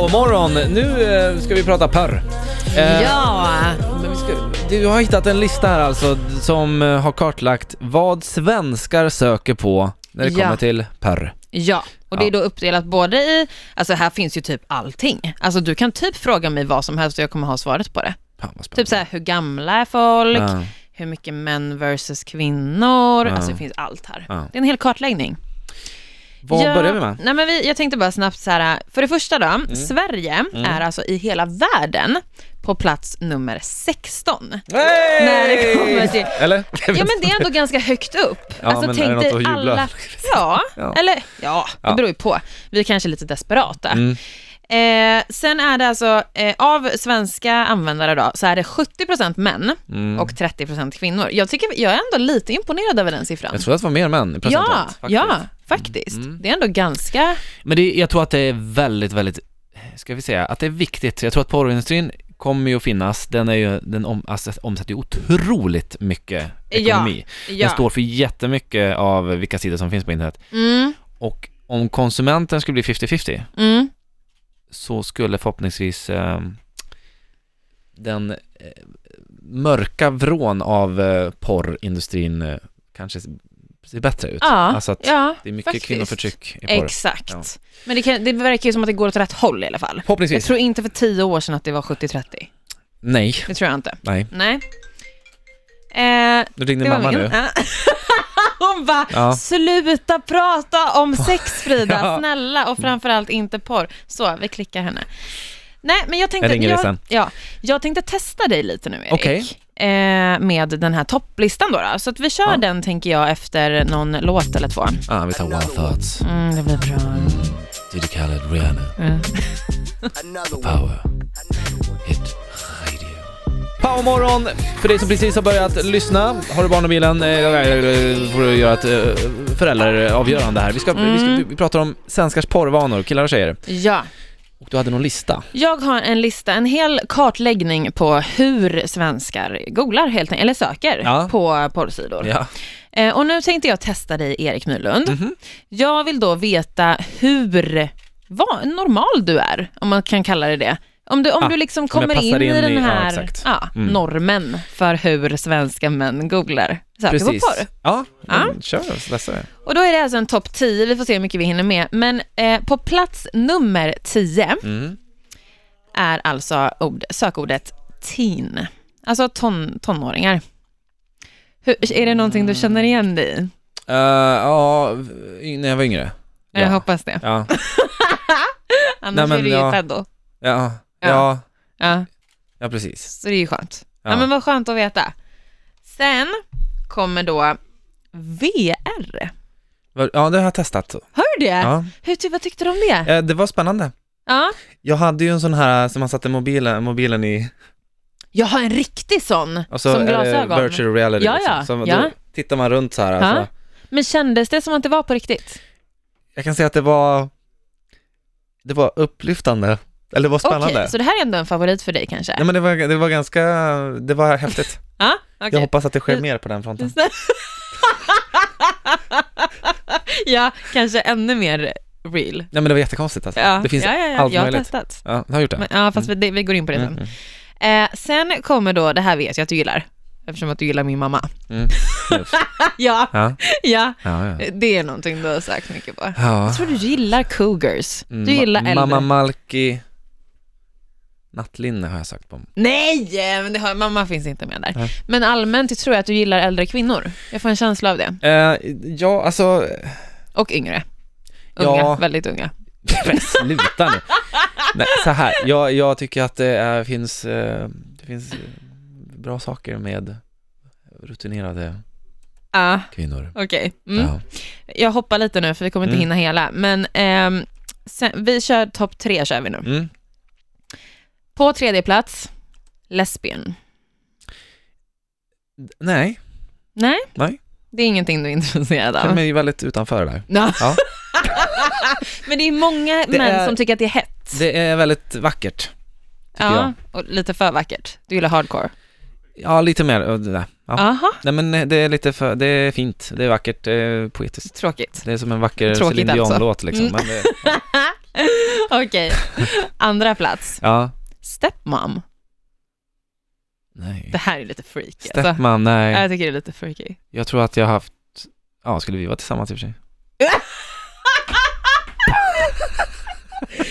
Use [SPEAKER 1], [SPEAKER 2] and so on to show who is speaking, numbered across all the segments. [SPEAKER 1] Powermorgon, nu eh, ska vi prata porr. Eh,
[SPEAKER 2] Ja,
[SPEAKER 1] men vi ska, du har hittat en lista här alltså d- som eh, har kartlagt vad svenskar söker på när det
[SPEAKER 2] Ja.
[SPEAKER 1] kommer till porr.
[SPEAKER 2] ja. Och det är då uppdelat både i, alltså här finns ju typ allting. Alltså du kan typ fråga mig vad som helst och jag kommer ha svaret på det.
[SPEAKER 1] Fan vad spännande. Eh,
[SPEAKER 2] Typ så här, hur gamla är folk?
[SPEAKER 1] Ja,
[SPEAKER 2] Hur mycket män versus kvinnor?
[SPEAKER 1] Ja.
[SPEAKER 2] Alltså det finns allt här.
[SPEAKER 1] Ja.
[SPEAKER 2] Det är en hel kartläggning.
[SPEAKER 1] Vad börjar vi med? Mm.
[SPEAKER 2] Nej, men vi, jag tänkte bara snabbt så här, för det första då, Sverige är alltså i hela världen på plats nummer 16. När det kommer till...
[SPEAKER 1] Eller?
[SPEAKER 2] Ja men det är ändå ganska högt upp.
[SPEAKER 1] Ja, men
[SPEAKER 2] alltså
[SPEAKER 1] är det
[SPEAKER 2] tänk
[SPEAKER 1] något
[SPEAKER 2] dig
[SPEAKER 1] att jubla
[SPEAKER 2] alla... Ja,
[SPEAKER 1] Ja.
[SPEAKER 2] eller ja, det
[SPEAKER 1] Ja.
[SPEAKER 2] beror ju på. Vi är kanske lite desperata.
[SPEAKER 1] Mm.
[SPEAKER 2] Eh, sen är det alltså, eh, av svenska användare då, så är det 70% män
[SPEAKER 1] Mm.
[SPEAKER 2] och 30% kvinnor. Jag tycker, jag är ändå lite imponerad över den siffran.
[SPEAKER 1] Jag tror att det var mer män i
[SPEAKER 2] ja,
[SPEAKER 1] procentuellt. faktiskt.
[SPEAKER 2] ja, faktiskt.
[SPEAKER 1] Mm.
[SPEAKER 2] Det är ändå ganska,
[SPEAKER 1] Men det, jag tror att det är väldigt, väldigt, ska vi säga, att det är viktigt. Jag tror att porrindustrin kommer ju att finnas, den, är ju, den om, alltså, omsätter ju otroligt mycket ekonomi. Den
[SPEAKER 2] ja.
[SPEAKER 1] står för jättemycket av vilka sidor som finns på internet.
[SPEAKER 2] Mm,
[SPEAKER 1] Och om konsumenten skulle bli 50-50
[SPEAKER 2] mm,
[SPEAKER 1] så skulle förhoppningsvis eh, den eh, mörka vrån av eh, porrindustrin eh, kanske ser bättre ut.
[SPEAKER 2] Ja,
[SPEAKER 1] alltså att
[SPEAKER 2] ja,
[SPEAKER 1] det är mycket
[SPEAKER 2] faktiskt.
[SPEAKER 1] kvinnoförtryck i porr.
[SPEAKER 2] Exakt.
[SPEAKER 1] Ja.
[SPEAKER 2] Men det, kan, det verkar ju som att det går åt rätt håll i alla fall. Jag
[SPEAKER 1] Förhoppningsvis.
[SPEAKER 2] tror inte för tio år sedan att det var 70-30.
[SPEAKER 1] Nej,
[SPEAKER 2] Det tror jag inte.
[SPEAKER 1] nej.
[SPEAKER 2] Nej. Eh,
[SPEAKER 1] Nu ringde
[SPEAKER 2] det var
[SPEAKER 1] mamma
[SPEAKER 2] min.
[SPEAKER 1] nu.
[SPEAKER 2] Ja. Hon bara,
[SPEAKER 1] Ja.
[SPEAKER 2] sluta prata om sex Frida,
[SPEAKER 1] Ja.
[SPEAKER 2] snälla, och framförallt inte porr. Så, vi klickar henne. Nej, men jag tänkte,
[SPEAKER 1] Jag ringer dig sen.
[SPEAKER 2] ja, jag tänkte testa dig lite nu Erik,
[SPEAKER 1] Okej.
[SPEAKER 2] eh, med den här topplistan då, då. Så att vi kör
[SPEAKER 1] Ja.
[SPEAKER 2] den tänker jag efter någon låt eller två.
[SPEAKER 1] Ah, vi tar One Thoughts,
[SPEAKER 2] Mm, det blir bra.
[SPEAKER 1] Diddy Khaled, Rihanna,
[SPEAKER 2] Mm.
[SPEAKER 1] Power, Hit Radio. Powermorgon för dig som precis har börjat lyssna. Har du barn i bilen eh, eh, får du göra ett eh, föräldraavgörande här. Vi, ska, vi,
[SPEAKER 2] Mm.
[SPEAKER 1] ska, vi pratar om svenskars porrvanor, killar och tjejer.
[SPEAKER 2] Ja.
[SPEAKER 1] Och du hade någon lista.
[SPEAKER 2] Jag har en lista, en hel kartläggning på hur svenskar googlar helt enkelt, eller söker
[SPEAKER 1] Ja.
[SPEAKER 2] på porrsidor. Eh, och nu tänkte jag testa dig Erik Nylund.
[SPEAKER 1] Mhm.
[SPEAKER 2] Jag vill då veta hur va, normal du är, om man kan kalla det det. Om du, om
[SPEAKER 1] Ah,
[SPEAKER 2] du liksom
[SPEAKER 1] jag
[SPEAKER 2] kommer in,
[SPEAKER 1] passar in
[SPEAKER 2] i den
[SPEAKER 1] i- ja,
[SPEAKER 2] här
[SPEAKER 1] exakt.
[SPEAKER 2] ja,
[SPEAKER 1] Mm.
[SPEAKER 2] normen för hur svenska män googlar. Söker på
[SPEAKER 1] precis.
[SPEAKER 2] porr.
[SPEAKER 1] Ja,
[SPEAKER 2] Ja.
[SPEAKER 1] men kör. Läsa det.
[SPEAKER 2] Och då är det alltså en topp 10, vi får se hur mycket vi hinner med. Men eh, på plats nummer 10
[SPEAKER 1] Mm.
[SPEAKER 2] är alltså ord, sökordet teen. Alltså ton, tonåringar. Hur, är det någonting du känner igen dig i?
[SPEAKER 1] Eh, ja, v- när jag var yngre.
[SPEAKER 2] Jag
[SPEAKER 1] Ja.
[SPEAKER 2] hoppas det.
[SPEAKER 1] Ja.
[SPEAKER 2] Annars
[SPEAKER 1] Nej, men
[SPEAKER 2] är du ju
[SPEAKER 1] ja.
[SPEAKER 2] pedo.
[SPEAKER 1] Ja.
[SPEAKER 2] Ja.
[SPEAKER 1] Ja.
[SPEAKER 2] Ja,
[SPEAKER 1] Ja, precis.
[SPEAKER 2] så det är ju skönt. Ja.
[SPEAKER 1] Ja.
[SPEAKER 2] men vad skönt att veta. Sen kommer då VR.
[SPEAKER 1] Ja, det har jag testat.
[SPEAKER 2] Hör du det?
[SPEAKER 1] Ja.
[SPEAKER 2] Hur, ty- vad tyckte du om det?
[SPEAKER 1] Eh, Det var spännande.
[SPEAKER 2] Ja.
[SPEAKER 1] Jag hade ju en sån här som man satte mobilen, mobilen i,
[SPEAKER 2] Jag har en riktig sån
[SPEAKER 1] och så
[SPEAKER 2] som
[SPEAKER 1] är det
[SPEAKER 2] glasögon.
[SPEAKER 1] Alltså, eh, virtual reality.
[SPEAKER 2] Ja,
[SPEAKER 1] liksom.
[SPEAKER 2] ja,
[SPEAKER 1] så
[SPEAKER 2] ja.
[SPEAKER 1] Då tittar man runt så här.
[SPEAKER 2] Ja.
[SPEAKER 1] Alltså.
[SPEAKER 2] Men kändes det som att det var på riktigt?
[SPEAKER 1] Jag kan säga att det var, det var upplyftande, eller det var
[SPEAKER 2] Okej,
[SPEAKER 1] spännande.
[SPEAKER 2] så det här är ändå en favorit för dig kanske?
[SPEAKER 1] Nej men det var, det var ganska, det var häftigt.
[SPEAKER 2] Ja, okej.
[SPEAKER 1] Jag hoppas att det sker mer på den fronten.
[SPEAKER 2] ja, kanske ännu mer real.
[SPEAKER 1] Nej men det var jättekonstigt alltså.
[SPEAKER 2] Ja,
[SPEAKER 1] Det finns
[SPEAKER 2] ja, ja, ja.
[SPEAKER 1] allt
[SPEAKER 2] jag har
[SPEAKER 1] möjligt.
[SPEAKER 2] testat.
[SPEAKER 1] Ja, du har gjort det?
[SPEAKER 2] Men, ja, fast vi, vi går in på det sen.
[SPEAKER 1] Mm, mm,
[SPEAKER 2] Eh, sen kommer då, det här vet jag att du gillar, eftersom att du gillar min mamma.
[SPEAKER 1] mm. Just.
[SPEAKER 2] ja,
[SPEAKER 1] Ja,
[SPEAKER 2] ja,
[SPEAKER 1] ja, ja.
[SPEAKER 2] det är någonting du har sagt mycket på.
[SPEAKER 1] ja. Mm,
[SPEAKER 2] Jag tror du gillar cougars. Du gillar
[SPEAKER 1] Ah. Ma-
[SPEAKER 2] äldre.
[SPEAKER 1] Mamma Malki, nattlinne har jag sagt på.
[SPEAKER 2] Nej, men det har, mamma finns inte med där.
[SPEAKER 1] Nej.
[SPEAKER 2] Men allmänt tror jag att du gillar äldre kvinnor. Jag får en känsla av det.
[SPEAKER 1] Eh, ja, alltså,
[SPEAKER 2] Och yngre. Unga,
[SPEAKER 1] Ja.
[SPEAKER 2] väldigt unga.
[SPEAKER 1] Men sluta nu. Nej, så här, jag, jag tycker att det är, finns, eh, det finns eh, bra saker med rutinerade
[SPEAKER 2] Ja,
[SPEAKER 1] kvinnor.
[SPEAKER 2] okej. Mm.
[SPEAKER 1] Ja.
[SPEAKER 2] Jag hoppar lite nu för vi kommer inte
[SPEAKER 1] Mm.
[SPEAKER 2] hinna hela, men ehm, sen, vi kör topp tre kör vi nu.
[SPEAKER 1] Mm.
[SPEAKER 2] På tredje plats, lesbien.
[SPEAKER 1] Nej,
[SPEAKER 2] Nej?
[SPEAKER 1] Nej.
[SPEAKER 2] Det är ingenting du är intresserad
[SPEAKER 1] jag känner
[SPEAKER 2] av.
[SPEAKER 1] mig väldigt utanför där.
[SPEAKER 2] Ja.
[SPEAKER 1] Ja.
[SPEAKER 2] men det är många
[SPEAKER 1] Det
[SPEAKER 2] män
[SPEAKER 1] är-
[SPEAKER 2] som tycker att det är hett.
[SPEAKER 1] Det är väldigt vackert.
[SPEAKER 2] Ja, och lite för vackert. Du gillar hardcore.
[SPEAKER 1] Ja, lite mer. eh, det där. Ja.
[SPEAKER 2] Aha,
[SPEAKER 1] Nej men eh, det är lite för, det är fint, det är vackert, det är poetiskt.
[SPEAKER 2] tråkigt.
[SPEAKER 1] Det är som en vacker
[SPEAKER 2] Tråkigt alltså. Mm.
[SPEAKER 1] Céline Dion-låt liksom. Men det, ja.
[SPEAKER 2] Okej, andra plats.
[SPEAKER 1] Ja.
[SPEAKER 2] Stepmom.
[SPEAKER 1] Nej.
[SPEAKER 2] Det här är lite freaky. Alltså.
[SPEAKER 1] Stepman,
[SPEAKER 2] Ja,
[SPEAKER 1] nej.
[SPEAKER 2] Jag tycker det är lite freaky.
[SPEAKER 1] Jag tror att jag har haft, ja skulle vi vara tillsammans i och för sig?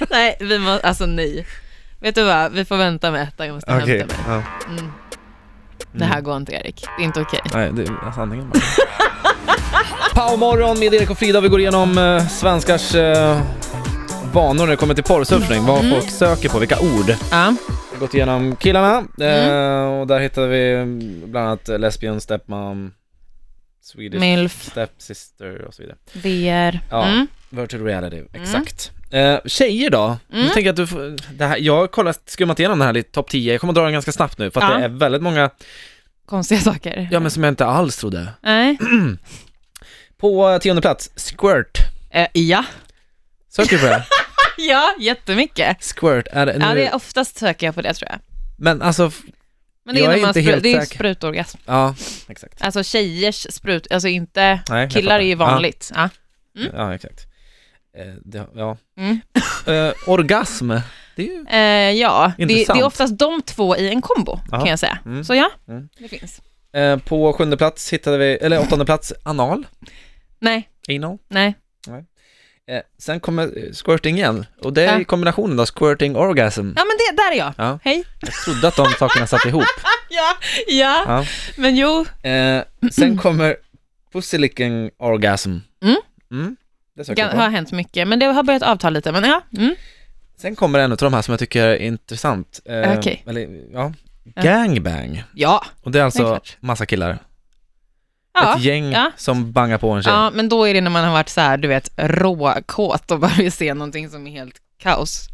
[SPEAKER 2] nej, vi måste, alltså nej. Vet du vad, vi får vänta med ettan, jag måste hämta mig.
[SPEAKER 1] Ja. Mm.
[SPEAKER 2] Mm. Det här går inte Erik, det är inte okej.
[SPEAKER 1] Nej, det är sanningen bara. Powermorgon med Erik och Frida. Vi går igenom eh, svenskars eh, vanor när det kommer till porrsurfning. Vad folk söker på, vilka ord. Vi
[SPEAKER 2] Ja.
[SPEAKER 1] har gått igenom killarna eh, och där hittar vi mm, bland annat lesbian, stepmom,
[SPEAKER 2] Mm.
[SPEAKER 1] Swedish
[SPEAKER 2] Milf,
[SPEAKER 1] stepsister och så vidare.
[SPEAKER 2] VR.
[SPEAKER 1] Ja.
[SPEAKER 2] Mm.
[SPEAKER 1] Virtual reality, exakt. Eh, tjejer då? Mm. Jag, tänker att du får, det här, jag har kollat, skummat igenom det här lite, topp 10. Jag kommer dra den ganska snabbt nu för att
[SPEAKER 2] Ja.
[SPEAKER 1] det är väldigt många,
[SPEAKER 2] Konstiga saker.
[SPEAKER 1] ja men som jag inte alls trodde.
[SPEAKER 2] Nej.
[SPEAKER 1] På eh, tionde plats, squirt.
[SPEAKER 2] Eh, ja.
[SPEAKER 1] Söker du på det?
[SPEAKER 2] ja, jättemycket.
[SPEAKER 1] Squirt, är det, nu,
[SPEAKER 2] Ja, det är oftast söker jag på det tror jag.
[SPEAKER 1] men alltså, f-
[SPEAKER 2] Men det är,
[SPEAKER 1] Jag är
[SPEAKER 2] när man
[SPEAKER 1] inte
[SPEAKER 2] spru-
[SPEAKER 1] helt
[SPEAKER 2] det är ju
[SPEAKER 1] säker.
[SPEAKER 2] sprutorgasm.
[SPEAKER 1] ja, exakt.
[SPEAKER 2] Alltså tjejers sprut, alltså inte
[SPEAKER 1] Nej, jag
[SPEAKER 2] killar
[SPEAKER 1] fattar.
[SPEAKER 2] är ju Mm. vanligt. Ja.
[SPEAKER 1] Ja, ja exakt. Eh, det, ja.
[SPEAKER 2] Mm.
[SPEAKER 1] Eh, orgasm, det är ju,
[SPEAKER 2] Eh, ja. Det, det
[SPEAKER 1] Intressant.
[SPEAKER 2] är oftast de två i en kombo
[SPEAKER 1] Ja.
[SPEAKER 2] kan jag säga.
[SPEAKER 1] Mm.
[SPEAKER 2] Så ja,
[SPEAKER 1] Mm.
[SPEAKER 2] det finns.
[SPEAKER 1] eh, på sjunde plats hittade vi, eller åttonde plats, anal.
[SPEAKER 2] Nej,
[SPEAKER 1] Anal.
[SPEAKER 2] nej.
[SPEAKER 1] Eh, sen kommer eh, squirting igen, och det är
[SPEAKER 2] Ja.
[SPEAKER 1] i kombinationen då, squirting orgasm.
[SPEAKER 2] Ja men det, där är jag.
[SPEAKER 1] Ja.
[SPEAKER 2] Hej.
[SPEAKER 1] Jag trodde att de sakerna satt ihop.
[SPEAKER 2] Ja, ja,
[SPEAKER 1] Ja.
[SPEAKER 2] men jo.
[SPEAKER 1] Eh, sen kommer pussylicking orgasm.
[SPEAKER 2] Mm.
[SPEAKER 1] Mm, det
[SPEAKER 2] Det
[SPEAKER 1] söker jag
[SPEAKER 2] har
[SPEAKER 1] på.
[SPEAKER 2] hänt mycket, men det har börjat avta lite. Men ja, mm.
[SPEAKER 1] Sen kommer en av de här som jag tycker är intressant. Eh,
[SPEAKER 2] Okej.
[SPEAKER 1] Eller, ja.
[SPEAKER 2] Ja.
[SPEAKER 1] Gangbang.
[SPEAKER 2] ja.
[SPEAKER 1] Och det är
[SPEAKER 2] Det är
[SPEAKER 1] alltså
[SPEAKER 2] klart.
[SPEAKER 1] massa killar.
[SPEAKER 2] ja.
[SPEAKER 1] Ett gäng
[SPEAKER 2] ja.
[SPEAKER 1] som bangar på en tjej.
[SPEAKER 2] Ja, men då är det när man har varit så här, du vet, råkåt och bara vill se någonting som är helt kaos.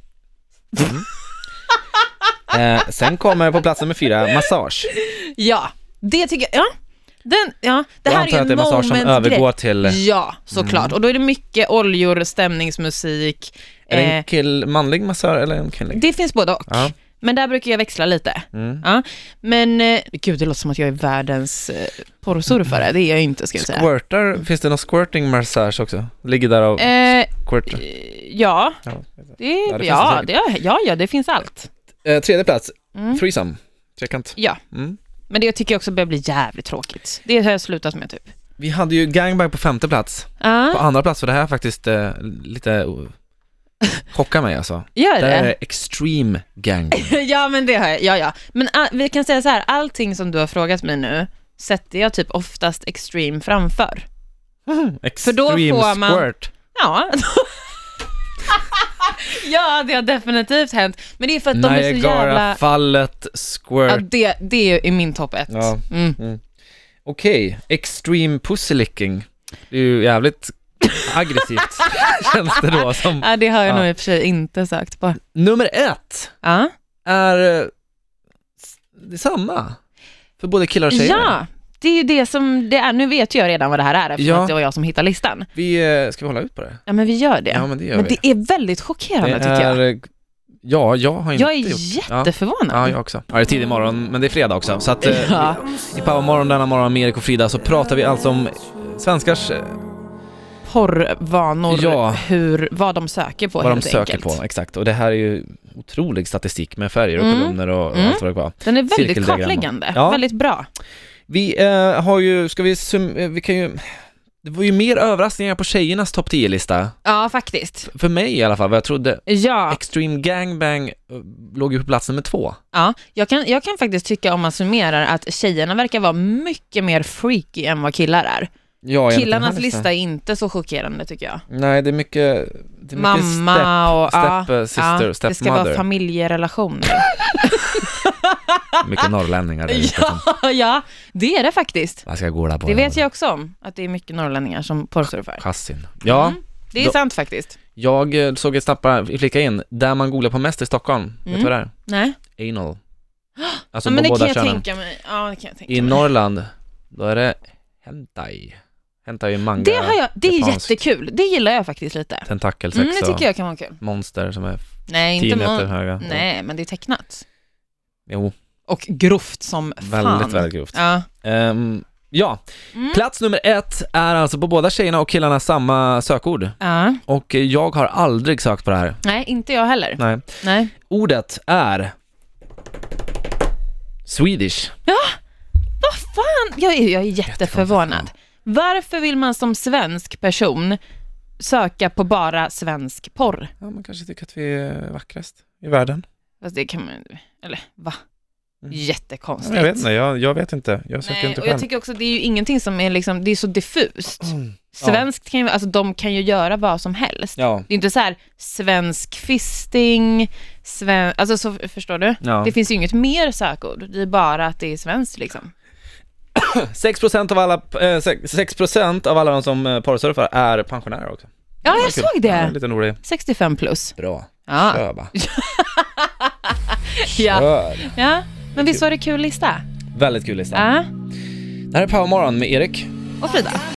[SPEAKER 1] Eh, sen kommer på plats nummer fyra, massage.
[SPEAKER 2] Ja, det tycker jag, ja. Den, ja det
[SPEAKER 1] jag
[SPEAKER 2] här
[SPEAKER 1] antar
[SPEAKER 2] är
[SPEAKER 1] att det
[SPEAKER 2] ju
[SPEAKER 1] är
[SPEAKER 2] en
[SPEAKER 1] massage som övergår
[SPEAKER 2] momentgrej.
[SPEAKER 1] till... Mm.
[SPEAKER 2] Ja, såklart. Och då är det mycket oljor, stämningsmusik.
[SPEAKER 1] Är det en
[SPEAKER 2] eh,
[SPEAKER 1] kill, manlig massör eller en kvinnlig?
[SPEAKER 2] det finns både och.
[SPEAKER 1] Ja.
[SPEAKER 2] Men där brukar jag växla lite.
[SPEAKER 1] Mm.
[SPEAKER 2] Ja. Men eh, gud, det låter som att jag är världens eh, porrsurfare. Det är jag inte, ska jag säga.
[SPEAKER 1] Squirtar, finns det någon squirting massage också? Ligger där och
[SPEAKER 2] Eh,
[SPEAKER 1] squirtar.
[SPEAKER 2] ja,
[SPEAKER 1] Ja.
[SPEAKER 2] det, ja,
[SPEAKER 1] det
[SPEAKER 2] det
[SPEAKER 1] finns
[SPEAKER 2] ja,
[SPEAKER 1] det
[SPEAKER 2] ja, ja, det finns allt.
[SPEAKER 1] Eh, tredje plats,
[SPEAKER 2] Mm.
[SPEAKER 1] threesome. Trekant.
[SPEAKER 2] Ja.
[SPEAKER 1] Mm.
[SPEAKER 2] Men det tycker jag också börjar bli jävligt tråkigt. Det har jag slutat med typ.
[SPEAKER 1] Vi hade ju gangbang på femte plats. På
[SPEAKER 2] Ja,
[SPEAKER 1] andra plats, för det här faktiskt eh, lite oh, chockar mig alltså.
[SPEAKER 2] gör
[SPEAKER 1] Det här
[SPEAKER 2] det.
[SPEAKER 1] är extreme gang.
[SPEAKER 2] ja, men det har jag. Ja, ja. Men ah, vi kan säga så här, allting som du har frågat mig nu sätter jag typ oftast extreme framför.
[SPEAKER 1] Extreme
[SPEAKER 2] då får man-
[SPEAKER 1] squirt.
[SPEAKER 2] Ja. ja, det har definitivt hänt. Men det är för att de är så jävla...
[SPEAKER 1] Niagarafallet
[SPEAKER 2] Ja,
[SPEAKER 1] squirt.
[SPEAKER 2] det, det är min topp ett.
[SPEAKER 1] Ja.
[SPEAKER 2] Mm.
[SPEAKER 1] Okej, extreme pussylicking. Det är ju jävligt aggressivt, känns det då som.
[SPEAKER 2] Ja, det har jag
[SPEAKER 1] Ja.
[SPEAKER 2] nog i och för sig inte sökt på.
[SPEAKER 1] Nummer ett
[SPEAKER 2] Ja,
[SPEAKER 1] är eh, s- det är samma för både killar och tjejer.
[SPEAKER 2] ja det är ju det som det är. Nu vet jag redan vad det här är eftersom
[SPEAKER 1] Ja.
[SPEAKER 2] att det var jag som hittade listan.
[SPEAKER 1] Vi, eh, ska vi hålla ut på det?
[SPEAKER 2] Ja, men vi gör det.
[SPEAKER 1] Ja, men det gör
[SPEAKER 2] men
[SPEAKER 1] vi.
[SPEAKER 2] det är väldigt chockerande
[SPEAKER 1] Det
[SPEAKER 2] tycker jag.
[SPEAKER 1] är, eh, Ja, jag har inte
[SPEAKER 2] Jag är
[SPEAKER 1] gjort
[SPEAKER 2] jätteförvånad.
[SPEAKER 1] Ja, jag också. Ja, det är tidig morgon, men det är fredag också. Så att eh,
[SPEAKER 2] Ja.
[SPEAKER 1] i Powermorgon denna morgon med Erik och Frida så pratar vi alltså om svenskars, eh,
[SPEAKER 2] Porrvanor,
[SPEAKER 1] Ja.
[SPEAKER 2] hur, vad de söker på
[SPEAKER 1] vad de
[SPEAKER 2] helt
[SPEAKER 1] söker
[SPEAKER 2] enkelt.
[SPEAKER 1] på. Exakt, och det här är ju otrolig statistik med färger och
[SPEAKER 2] Mm.
[SPEAKER 1] kolumner och, och
[SPEAKER 2] Mm.
[SPEAKER 1] allt vad det var.
[SPEAKER 2] Den är väldigt
[SPEAKER 1] Cirkeldiagram.
[SPEAKER 2] kartläggande,
[SPEAKER 1] Ja.
[SPEAKER 2] väldigt bra.
[SPEAKER 1] Vi eh, har ju, ska vi sum- eh, vi kan ju, det var ju mer överraskningar på tjejernas topp 10-lista.
[SPEAKER 2] Ja, faktiskt.
[SPEAKER 1] För mig i alla fall, vad jag trodde.
[SPEAKER 2] Ja,
[SPEAKER 1] Extreme Gangbang eh, låg ju på plats nummer två.
[SPEAKER 2] ja. Jag, kan, jag kan faktiskt tycka om man summerar att tjejerna verkar vara mycket mer freaky än vad killar är.
[SPEAKER 1] Ja, enligt den här
[SPEAKER 2] Killarnas
[SPEAKER 1] listan.
[SPEAKER 2] lista är inte så chockerande tycker jag.
[SPEAKER 1] Nej, det är mycket, det är mycket
[SPEAKER 2] Mamma
[SPEAKER 1] step,
[SPEAKER 2] och... ja,
[SPEAKER 1] step, eh, sister,
[SPEAKER 2] ja, det ska vara
[SPEAKER 1] stepmother.
[SPEAKER 2] familjerelationer.
[SPEAKER 1] mycket norrlänningar där ute som-
[SPEAKER 2] ja, ja, det är det faktiskt.
[SPEAKER 1] Jag ska gå där på
[SPEAKER 2] Det vet jag också om, att det är mycket norrlänningar som porrsurfar.
[SPEAKER 1] Chassin. Ja,
[SPEAKER 2] Mm. Det är
[SPEAKER 1] Då-
[SPEAKER 2] sant faktiskt.
[SPEAKER 1] jag eh, såg ett snabba flika in, där man googlar på mest i Stockholm, vet
[SPEAKER 2] Mm.
[SPEAKER 1] du vad det
[SPEAKER 2] Nej,
[SPEAKER 1] är? Anal. Alltså
[SPEAKER 2] ja, men
[SPEAKER 1] på
[SPEAKER 2] det
[SPEAKER 1] båda
[SPEAKER 2] kan jag
[SPEAKER 1] könen.
[SPEAKER 2] tänka mig. Ja, det kan jag tänka
[SPEAKER 1] I
[SPEAKER 2] mig.
[SPEAKER 1] Norrland, då är det hentai. Hentai är manga,
[SPEAKER 2] Det, har jag, det är
[SPEAKER 1] japanskt.
[SPEAKER 2] jättekul, det gillar jag faktiskt lite.
[SPEAKER 1] tentakelsex
[SPEAKER 2] Mm, det tycker jag kan vara kul.
[SPEAKER 1] och monster som är
[SPEAKER 2] Nej,
[SPEAKER 1] 10
[SPEAKER 2] inte
[SPEAKER 1] meter
[SPEAKER 2] mon-
[SPEAKER 1] höga.
[SPEAKER 2] Nej, men det är tecknat.
[SPEAKER 1] Jo,
[SPEAKER 2] Och grovt som fan.
[SPEAKER 1] väldigt, väldigt grovt.
[SPEAKER 2] Ja.
[SPEAKER 1] Ehm, Ja,
[SPEAKER 2] Mm.
[SPEAKER 1] plats nummer ett är alltså på båda tjejerna och killarna samma sökord.
[SPEAKER 2] Ja.
[SPEAKER 1] Och eh, jag har aldrig sökt på det här.
[SPEAKER 2] Nej, inte jag heller. Nej.
[SPEAKER 1] Nej. Ordet är Swedish.
[SPEAKER 2] Vad fan? Jag är, jag är jätteförvånad. Varför vill man som svensk person söka på bara svensk porr?
[SPEAKER 1] Ja, man kanske tycker att vi är vackrast i världen.
[SPEAKER 2] Fast det kan man Eller va?
[SPEAKER 1] Mm.
[SPEAKER 2] Jättekonstigt.
[SPEAKER 1] jag, jag vet inte. Jag
[SPEAKER 2] Nej, och jag tycker också att det är ju ingenting som är liksom, det är så diffust.
[SPEAKER 1] Mm.
[SPEAKER 2] Svenskt kan ju, alltså de kan ju göra vad som helst.
[SPEAKER 1] Ja.
[SPEAKER 2] Det är inte så här svensk fisting, sven, alltså så, förstår du?
[SPEAKER 1] ja.
[SPEAKER 2] Det finns ju inget mer sökord, det är bara att det är svenskt liksom.
[SPEAKER 1] 6% av alla, eh, sex- 6% av alla de som eh, porrsurfar är pensionärer också.
[SPEAKER 2] Ja,
[SPEAKER 1] Det är
[SPEAKER 2] jag
[SPEAKER 1] kul.
[SPEAKER 2] såg
[SPEAKER 1] Ja,
[SPEAKER 2] det!
[SPEAKER 1] lite rolig.
[SPEAKER 2] 65 plus.
[SPEAKER 1] Bra.
[SPEAKER 2] Ja.
[SPEAKER 1] Kör bara.
[SPEAKER 2] Ja.
[SPEAKER 1] Kör.
[SPEAKER 2] ja. Men visst var det kul lista?
[SPEAKER 1] Väldigt kul lista.
[SPEAKER 2] Ja.
[SPEAKER 1] Det här är Powermorgon med Erik.
[SPEAKER 2] Och Frida.